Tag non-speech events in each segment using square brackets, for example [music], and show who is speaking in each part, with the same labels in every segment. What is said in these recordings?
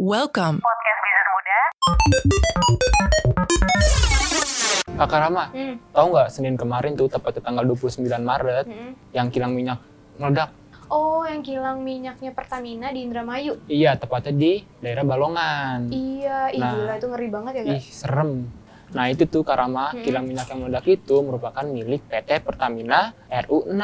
Speaker 1: Welcome.
Speaker 2: podcast bisnis muda.
Speaker 3: Kakak Rama,
Speaker 4: Hmm,
Speaker 3: tahu nggak Senin kemarin tuh tepatnya tanggal 29 Maret yang kilang minyak meledak?
Speaker 4: hmm. Oh, yang kilang minyaknya Pertamina di Indramayu.
Speaker 3: Iya, tepatnya di daerah Balongan.
Speaker 4: Iya, ih
Speaker 3: Nah.
Speaker 4: gila itu ngeri banget ya, Kak.
Speaker 3: Ih, serem. Nah itu tuh Kak Rama,
Speaker 4: Mm-mm.
Speaker 3: kilang minyak yang meledak itu merupakan milik PT Pertamina RU6.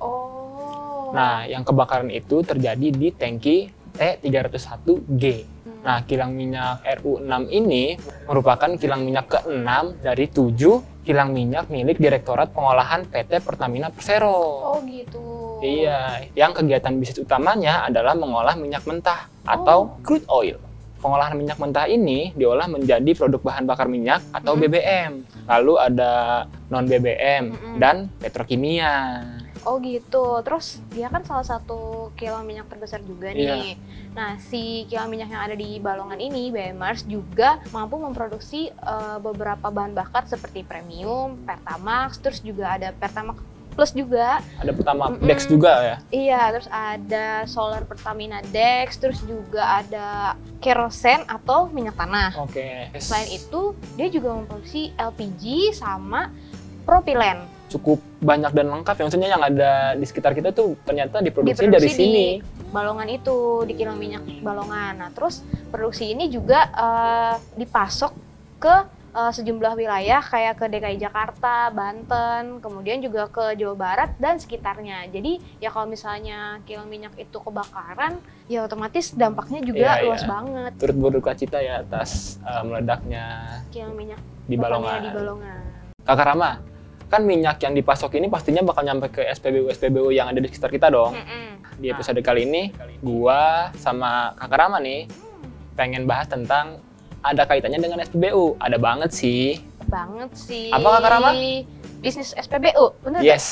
Speaker 4: Oh.
Speaker 3: Nah, yang kebakaran itu terjadi di tangki T301G.
Speaker 4: Hmm.
Speaker 3: Nah, kilang minyak RU6 ini merupakan kilang minyak ke-6 dari 7 kilang minyak milik Direktorat Pengolahan PT Pertamina Persero.
Speaker 4: Oh, gitu.
Speaker 3: Iya, yang kegiatan bisnis utamanya adalah mengolah minyak mentah atau
Speaker 4: Oh.
Speaker 3: crude oil. Pengolahan minyak mentah ini diolah menjadi produk bahan bakar minyak atau
Speaker 4: Mm.
Speaker 3: BBM. Lalu ada non BBM
Speaker 4: Mm-mm.
Speaker 3: dan petrokimia.
Speaker 4: Oh, gitu. Terus dia kan salah satu kilang minyak terbesar juga nih.
Speaker 3: Iya.
Speaker 4: Nah, si kilang minyak yang ada di Balongan ini, BMRS juga mampu memproduksi eh, beberapa bahan bakar seperti premium, Pertamax, terus juga ada Pertamax Plus juga.
Speaker 3: Ada pertama
Speaker 4: Mm-mm.
Speaker 3: Dex juga ya.
Speaker 4: Iya, terus ada solar Pertamina Dex, terus juga ada kerosen atau minyak tanah.
Speaker 3: Oke.
Speaker 4: Selain itu, dia juga memproduksi LPG sama propilen.
Speaker 3: cukup banyak dan lengkap. Yang maksudnya yang ada di sekitar kita tuh ternyata diproduksi
Speaker 4: Diproduksi
Speaker 3: dari
Speaker 4: di-
Speaker 3: sini.
Speaker 4: Balongan itu di kilang minyak Balongan. Nah, terus produksi ini juga eh, dipasok ke eh, sejumlah wilayah kayak ke DKI Jakarta, Banten, kemudian juga ke Jawa Barat dan sekitarnya. Jadi ya kalau misalnya kilang minyak itu kebakaran, ya otomatis dampaknya juga
Speaker 3: Iya,
Speaker 4: luas
Speaker 3: iya.
Speaker 4: banget.
Speaker 3: Turut berduka cita ya atas eh, meledaknya
Speaker 4: kilang minyak
Speaker 3: di Balongan.
Speaker 4: Pertamina di Balongan.
Speaker 3: Kakak Rama, kan minyak yang dipasok ini pastinya bakal nyampe ke SPBU SPBU yang ada di sekitar kita dong.
Speaker 4: Mm-mm.
Speaker 3: Di episode kali ini, gua sama Kakak Rama nih pengen bahas tentang ada kaitannya dengan SPBU. Ada banget sih.
Speaker 4: Banget sih.
Speaker 3: Apa, Kak Rama?
Speaker 4: Bisnis SPBU, bener
Speaker 3: Iya,
Speaker 4: nggak?
Speaker 3: Yes,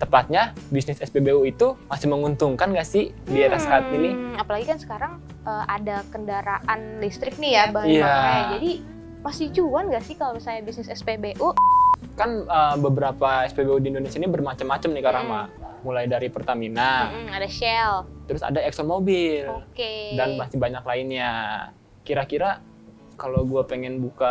Speaker 3: tepatnya bisnis SPBU itu masih menguntungkan nggak sih di era saat
Speaker 4: Hmm,
Speaker 3: ini?
Speaker 4: Apalagi kan sekarang eh, ada kendaraan listrik nih ya bahan
Speaker 3: Iya.
Speaker 4: bakarnya. Jadi masih cuan nggak sih kalau misalnya bisnis SPBU?
Speaker 3: Kan eh, beberapa SPBU di Indonesia ini bermacam-macam nih Kak Rama. Mulai dari Pertamina,
Speaker 4: Mm-mm, ada Shell,
Speaker 3: terus ada ExxonMobil.
Speaker 4: oke.
Speaker 3: Iya. dan masih banyak lainnya. Kira-kira kalau gue pengen buka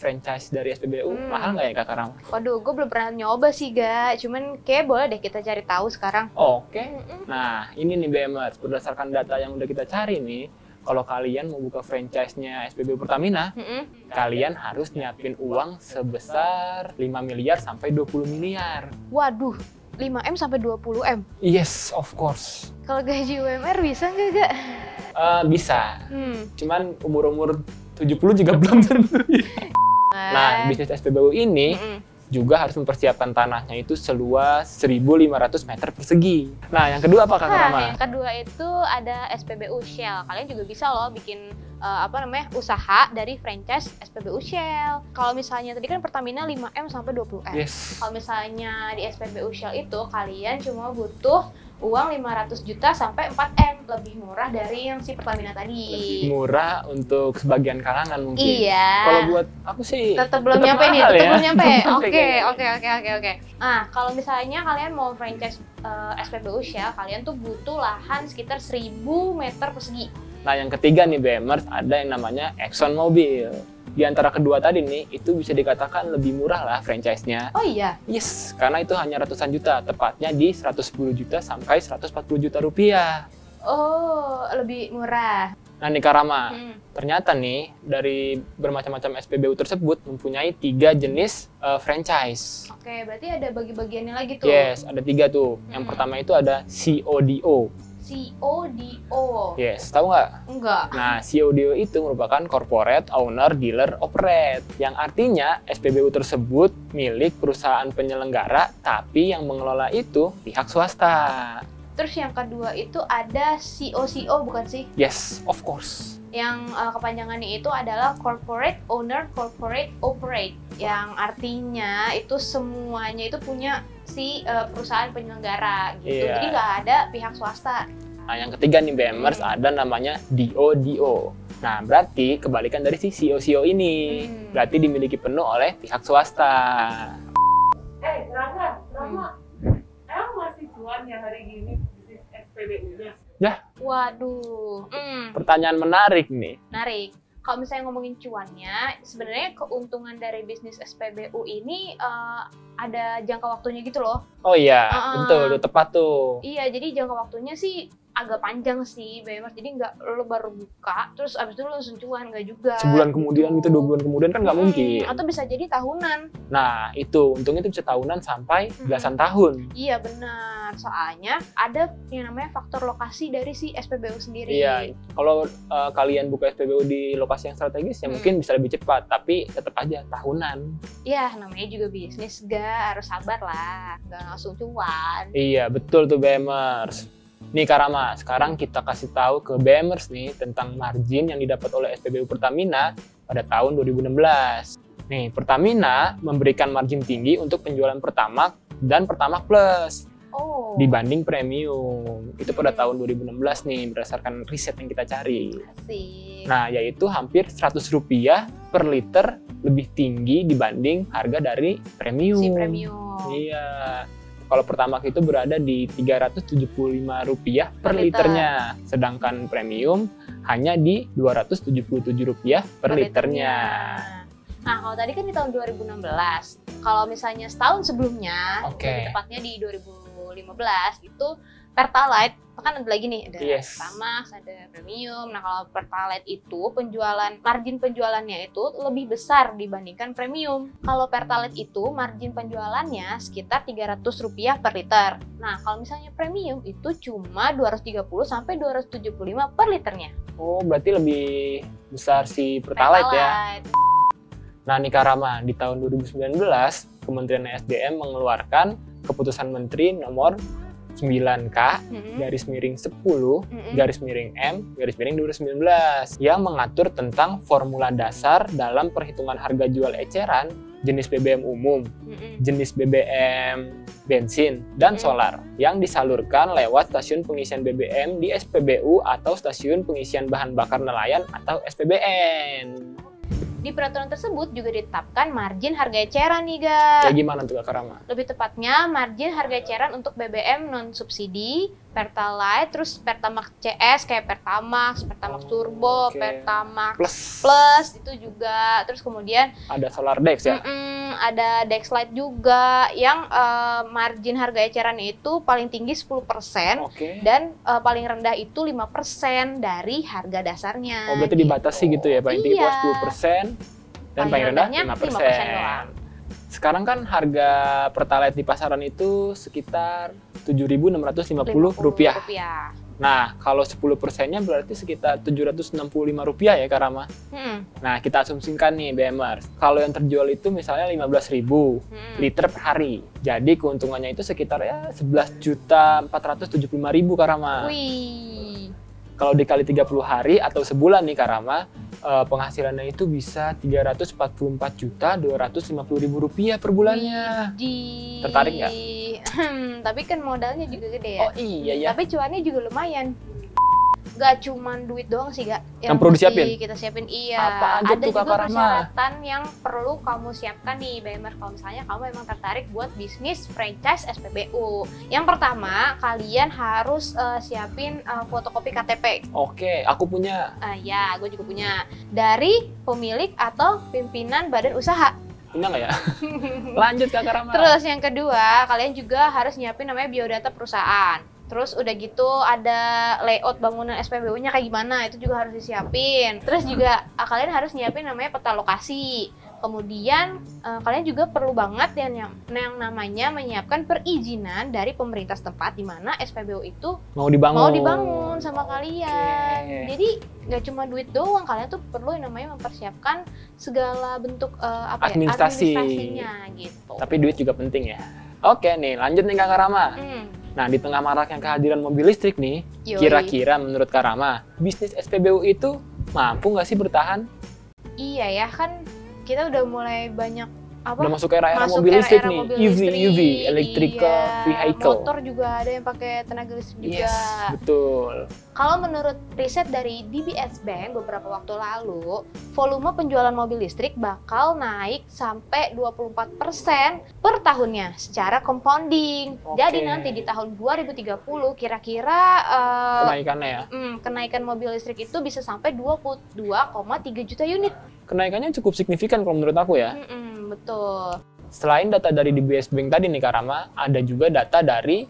Speaker 3: franchise dari SPBU,
Speaker 4: Hmm.
Speaker 3: mahal nggak ya Kakak Rama?
Speaker 4: Waduh, gue belum pernah nyoba sih ga. Cuman kayak boleh deh kita cari tahu sekarang.
Speaker 3: Oke.
Speaker 4: Mm-mm.
Speaker 3: Nah, ini nih BMers, berdasarkan data yang udah kita cari nih, kalau kalian mau buka franchise-nya SPBU Pertamina,
Speaker 4: Mm-mm.
Speaker 3: kalian harus nyiapin uang sebesar 5 miliar sampai 20 miliar.
Speaker 4: Waduh, 5M sampai 20M.
Speaker 3: Yes, of course.
Speaker 4: Kalau gaji UMR bisa nggak ga?
Speaker 3: Eh, bisa.
Speaker 4: Hmm.
Speaker 3: Cuman umur-umur 70 juga belum tentu. Nah, bisnis SPBU ini
Speaker 4: Mm-mm.
Speaker 3: juga harus mempersiapkan tanahnya itu seluas 1.500 meter persegi. Nah, yang kedua apa Kak
Speaker 4: Nah,
Speaker 3: Rama?
Speaker 4: yang kedua itu ada SPBU Shell. Kalian juga bisa loh bikin eh, apa namanya usaha dari franchise SPBU Shell. Kalau misalnya tadi kan Pertamina 5M sampai 20M.
Speaker 3: Yes.
Speaker 4: Kalau misalnya di SPBU Shell itu kalian cuma butuh uang 500 juta sampai 4M lebih murah dari yang si Pertamina
Speaker 3: Lebih
Speaker 4: tadi.
Speaker 3: murah untuk sebagian kalangan mungkin. Kalau
Speaker 4: Iya.
Speaker 3: buat aku sih
Speaker 4: Tetap belum
Speaker 3: tetap
Speaker 4: nyampe nih,
Speaker 3: mahal
Speaker 4: tetap
Speaker 3: ya.
Speaker 4: belum nyampe.
Speaker 3: Tetap nyampe
Speaker 4: Oke,
Speaker 3: kayaknya.
Speaker 4: oke, oke, oke, oke. Nah, kalau misalnya kalian mau franchise eh, SPBU Shell, kalian tuh butuh lahan sekitar 1000 meter persegi.
Speaker 3: Nah, yang ketiga nih BMers ada yang namanya Exxon Mobil. Di antara kedua tadi nih, itu bisa dikatakan lebih murah lah franchise-nya.
Speaker 4: Oh iya,
Speaker 3: Yes, karena itu hanya ratusan juta, tepatnya di 110 juta sampai 140 juta rupiah.
Speaker 4: Oh, lebih murah.
Speaker 3: Nah, nih Kak Rama,
Speaker 4: Hmm.
Speaker 3: Ternyata nih dari bermacam-macam SPBU tersebut mempunyai tiga jenis eh, franchise.
Speaker 4: Oke, berarti ada bagi-bagiannya lagi tuh.
Speaker 3: Yes, ada tiga tuh. Yang
Speaker 4: Hmm.
Speaker 3: pertama itu ada CODO.
Speaker 4: CODO.
Speaker 3: Yes, tahu nggak?
Speaker 4: Enggak.
Speaker 3: Nah, CODO itu merupakan Corporate Owner Dealer Operate, yang artinya SPBU tersebut milik perusahaan penyelenggara, tapi yang mengelola itu pihak swasta.
Speaker 4: Terus yang kedua itu ada COCO bukan sih?
Speaker 3: Yes, of course.
Speaker 4: Yang eh, kepanjangannya itu adalah Corporate Owner Corporate Operate. Yang artinya itu semuanya itu punya si eh, perusahaan penyelenggara gitu.
Speaker 3: Iya.
Speaker 4: Jadi nggak ada pihak swasta.
Speaker 3: Nah, yang ketiga nih BMers ada namanya DODO. Nah, berarti kebalikan dari si COCO ini.
Speaker 4: Hmm.
Speaker 3: Berarti dimiliki penuh oleh pihak swasta.
Speaker 2: Eh, Rangga, Rama, emang masih cuan ya hari gini bisnis SPBU-nya?
Speaker 3: Yah.
Speaker 4: Waduh. Hmm,
Speaker 3: Pertanyaan menarik nih.
Speaker 4: menarik. Kalau misalnya ngomongin cuannya, sebenarnya keuntungan dari bisnis SPBU ini eh, ada jangka waktunya gitu loh.
Speaker 3: Oh iya,
Speaker 4: Ah.
Speaker 3: betul, tuh, tepat tuh.
Speaker 4: Iya, jadi jangka waktunya sih agak panjang sih, Bemers. Jadi nggak lo baru buka, terus abis itu lo langsung cuan, nggak juga.
Speaker 3: Sebulan kemudian gitu, dua bulan kemudian kan nggak
Speaker 4: Hmm,
Speaker 3: mungkin.
Speaker 4: Atau bisa jadi tahunan.
Speaker 3: Nah itu, untungnya itu bisa tahunan sampai
Speaker 4: Hmm.
Speaker 3: belasan tahun.
Speaker 4: Iya benar, soalnya ada yang namanya faktor lokasi dari si SPBU sendiri.
Speaker 3: Iya, kalau eh, kalian buka SPBU di lokasi yang strategis ya
Speaker 4: Hmm.
Speaker 3: mungkin bisa lebih cepat, tapi tetap aja tahunan.
Speaker 4: Iya, namanya juga bisnis, ga harus sabar lah, nggak langsung cuan.
Speaker 3: Iya, betul tuh BMers. Nih Karama, sekarang kita kasih tahu ke BMers nih tentang margin yang didapat oleh SPBU Pertamina pada tahun 2016. Nih, Pertamina memberikan margin tinggi untuk penjualan pertamax dan pertamax plus
Speaker 4: Oh.
Speaker 3: dibanding premium. Itu pada
Speaker 4: Hmm.
Speaker 3: tahun 2016 nih berdasarkan riset yang kita cari.
Speaker 4: Asik.
Speaker 3: Nah, yaitu hampir 100 rupiah per liter lebih tinggi dibanding harga dari premium.
Speaker 4: si premium.
Speaker 3: Iya. Kalau Pertamax itu berada di Rp375 per
Speaker 4: Per liter.
Speaker 3: liternya, sedangkan premium hanya di Rp277 per liternya.
Speaker 4: Nah, kalau tadi kan di tahun 2016. Kalau misalnya setahun sebelumnya,
Speaker 3: Oke.
Speaker 4: lebih tepatnya di 2015 itu Pertalite kan ada lagi nih ada
Speaker 3: Yes.
Speaker 4: Pertamax, ada Premium. Nah, kalau Pertalite itu penjualan margin penjualannya itu lebih besar dibandingkan Premium. Kalau Pertalite itu margin penjualannya sekitar Rp300 per liter. Nah, kalau misalnya Premium itu cuma 230 sampai 275 per liternya.
Speaker 3: Oh, berarti lebih besar si Pertalite ya. Nah, Nika Rama, di tahun 2019, Kementerian SDM mengeluarkan keputusan Menteri nomor 9K
Speaker 4: Mm-mm.
Speaker 3: garis miring 10
Speaker 4: Mm-mm.
Speaker 3: garis miring M garis miring 2019 yang mengatur tentang formula dasar dalam perhitungan harga jual eceran jenis BBM umum,
Speaker 4: Mm-mm.
Speaker 3: jenis BBM bensin, dan
Speaker 4: Mm.
Speaker 3: solar yang disalurkan lewat stasiun pengisian BBM di SPBU atau stasiun pengisian bahan bakar nelayan atau SPBN.
Speaker 4: Di peraturan tersebut juga ditetapkan margin harga eceran nih,
Speaker 3: Kayak gitu.
Speaker 4: Ga.
Speaker 3: gimana tuh Kak Rama?
Speaker 4: Lebih tepatnya margin harga eceran untuk BBM non subsidi, Pertalite, terus Pertamax CS kayak Pertamax,
Speaker 3: Oh,
Speaker 4: Pertamax Turbo,
Speaker 3: oke.
Speaker 4: Pertamax
Speaker 3: Plus,
Speaker 4: Plus itu juga. Terus kemudian
Speaker 3: ada solar dex ya.
Speaker 4: mm-mm, ada Dexlite juga yang eh, margin harga eceran itu paling tinggi 10%
Speaker 3: Oke.
Speaker 4: dan eh, paling rendah itu 5% dari harga dasarnya.
Speaker 3: Oh berarti dibatasi gitu ya, paling tinggi
Speaker 4: Iya.
Speaker 3: cuma 10 dan
Speaker 4: Paling
Speaker 3: paling rendah
Speaker 4: rendahnya
Speaker 3: 5
Speaker 4: 5% doang.
Speaker 3: Sekarang kan harga pertalite di pasaran itu sekitar 7.650 rupiah.
Speaker 4: rupiah.
Speaker 3: Nah, kalau 10 persennya berarti sekitar 765 rupiah ya, Karama.
Speaker 4: Hmm,
Speaker 3: Nah, kita asumsikan nih, BMers. Kalau yang terjual itu misalnya 15.000
Speaker 4: hmm.
Speaker 3: liter per hari. Jadi keuntungannya itu sekitar ya 11.475.000, Karama.
Speaker 4: Wih.
Speaker 3: kalau dikali 30 hari atau sebulan nih Karama eh, penghasilannya itu bisa 344 juta 250 ribu rupiah per bulannya
Speaker 4: Di...
Speaker 3: Tertarik nggak?
Speaker 4: Hmm, tapi kan modalnya juga gede ya.
Speaker 3: oh iya ya
Speaker 4: Tapi cuannya juga lumayan. Gak cuman duit doang sih, gak.
Speaker 3: Yang perlu
Speaker 4: mesti
Speaker 3: disiapin?
Speaker 4: Kita siapin, iya.
Speaker 3: Apa aja
Speaker 4: Ada
Speaker 3: tuh, Kakak
Speaker 4: juga
Speaker 3: Rahma?
Speaker 4: persyaratan yang perlu kamu siapkan nih, Bemer. Kalau misalnya kamu emang tertarik buat bisnis franchise SPBU. Yang pertama, kalian harus eh, siapin eh, fotokopi KTP.
Speaker 3: oke aku punya
Speaker 4: Ah, ya, gue juga punya. Dari pemilik atau pimpinan badan
Speaker 3: [laughs]
Speaker 4: usaha.
Speaker 3: punya nggak ya
Speaker 4: [laughs]
Speaker 3: lanjut Kak Karama
Speaker 4: Terus yang kedua, kalian juga harus nyiapin namanya biodata perusahaan. Terus udah gitu ada layout bangunan SPBU-nya kayak gimana, itu juga harus disiapin. Terus
Speaker 3: Hmm.
Speaker 4: juga ah, kalian harus nyiapin namanya peta lokasi. Kemudian eh, kalian juga perlu banget yang, yang yang namanya menyiapkan perizinan dari pemerintah setempat di mana SPBU itu
Speaker 3: mau dibangun
Speaker 4: mau dibangun sama
Speaker 3: Oh. Oke.
Speaker 4: kalian. Jadi nggak cuma duit doang, kalian tuh perlu yang namanya mempersiapkan segala bentuk eh, apa ya,
Speaker 3: Administrasi.
Speaker 4: administrasinya gitu.
Speaker 3: tapi duit juga penting ya oke nih lanjut nih Kak Karama
Speaker 4: Hmm,
Speaker 3: nah di tengah maraknya kehadiran mobil listrik nih
Speaker 4: yoi.
Speaker 3: kira-kira menurut Karama bisnis SPBU itu mampu nggak sih bertahan
Speaker 4: Iya ya kan kita udah mulai banyak apa
Speaker 3: Udah masuk era-era
Speaker 4: masuk
Speaker 3: mobil listrik
Speaker 4: era-era
Speaker 3: nih, E
Speaker 4: mobil
Speaker 3: EV,
Speaker 4: listrik,
Speaker 3: EV, electrical
Speaker 4: iya.
Speaker 3: vehicle.
Speaker 4: motor juga ada yang pakai tenaga listrik juga
Speaker 3: Yes, betul.
Speaker 4: kalau menurut riset dari DBS Bank beberapa waktu lalu volume penjualan mobil listrik bakal naik sampai 24% per tahunnya secara compounding
Speaker 3: Oke.
Speaker 4: jadi nanti di tahun 2030 kira-kira eh,
Speaker 3: Kenaikannya ya.
Speaker 4: mm, kenaikan mobil listrik itu bisa sampai 22,3 juta unit
Speaker 3: Kenaikannya cukup signifikan kalau menurut aku ya.
Speaker 4: Mm-mm, betul
Speaker 3: Selain data dari DBS Bank tadi nih Karama, ada juga data dari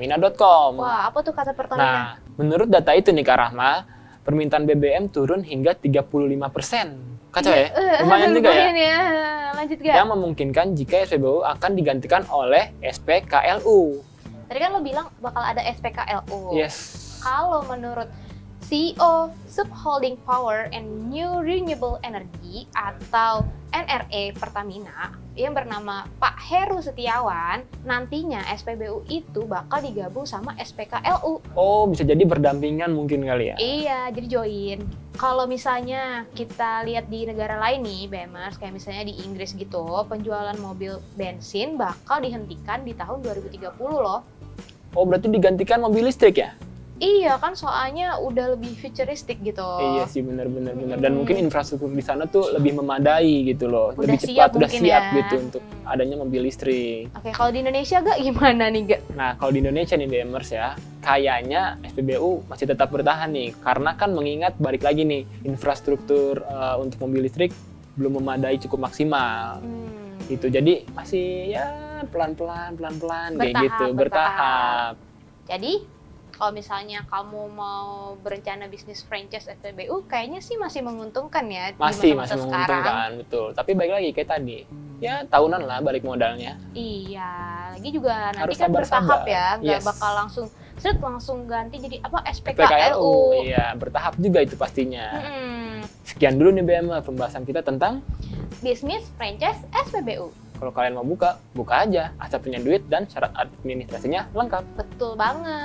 Speaker 3: Pertamina.com.
Speaker 4: wah ya. apa tuh kata Pertamina
Speaker 3: Nah, menurut data itu nih Karama, permintaan BBM turun hingga 35%. Kacau ya?
Speaker 4: Eh,
Speaker 3: Lumayan juga ya?
Speaker 4: [laughs] lumayan Lanjut gak?
Speaker 3: Yang memungkinkan jika SPBU akan digantikan oleh SPKLU.
Speaker 4: Tadi kan lo bilang bakal ada SPKLU.
Speaker 3: Yes.
Speaker 4: Kalau menurut CEO Subholding Power and New Renewable Energy atau NRE Pertamina yang bernama Pak Heru Setiawan, nantinya SPBU itu bakal digabung sama SPKLU.
Speaker 3: Oh, bisa jadi berdampingan mungkin kali ya.
Speaker 4: Iya, jadi join. Kalau misalnya kita lihat di negara lain nih, BMers, kayak misalnya di Inggris gitu, penjualan mobil bensin bakal dihentikan di tahun 2030 loh.
Speaker 3: Oh, berarti digantikan mobil listrik ya?
Speaker 4: Iya kan, soalnya udah lebih futuristik gitu.
Speaker 3: Iya sih, benar-benar benar. Dan
Speaker 4: Mm-mm.
Speaker 3: mungkin infrastruktur di sana tuh lebih memadai gitu loh,
Speaker 4: Hmm. Udah
Speaker 3: lebih
Speaker 4: siap
Speaker 3: cepat, udah
Speaker 4: mungkin
Speaker 3: siap
Speaker 4: ya.
Speaker 3: gitu untuk
Speaker 4: Mm.
Speaker 3: adanya mobil listrik.
Speaker 4: Oke, kalau di Indonesia gak gimana nih, gak?
Speaker 3: Nah, kalau di Indonesia nih Demers ya, kayaknya SPBU masih tetap bertahan nih, karena kan mengingat balik lagi nih infrastruktur eh, untuk mobil listrik belum memadai cukup maksimal.
Speaker 4: Hmm.
Speaker 3: Gitu, jadi masih ya pelan-pelan, pelan-pelan kayak
Speaker 4: Bertahap,
Speaker 3: gitu,
Speaker 4: bertahap.
Speaker 3: bertahap.
Speaker 4: Jadi, kalau misalnya kamu mau berencana bisnis franchise SPBU, kayaknya sih masih menguntungkan ya di
Speaker 3: masih
Speaker 4: masa-masa
Speaker 3: masih
Speaker 4: sekarang.
Speaker 3: menguntungkan betul tapi balik lagi kayak tadi ya tahunan lah balik modalnya
Speaker 4: Iya, lagi juga nanti
Speaker 3: Harus
Speaker 4: kan
Speaker 3: sabar-sabar.
Speaker 4: bertahap ya, nggak
Speaker 3: Yes.
Speaker 4: bakal langsung seret langsung ganti jadi apa
Speaker 3: PKLU
Speaker 4: SPKLU.
Speaker 3: iya bertahap juga itu pastinya
Speaker 4: Mm-mm.
Speaker 3: sekian dulu nih BMR pembahasan kita tentang
Speaker 4: Bisnis franchise SPBU.
Speaker 3: kalau kalian mau buka buka aja asal punya duit dan syarat administrasinya lengkap
Speaker 4: Betul banget.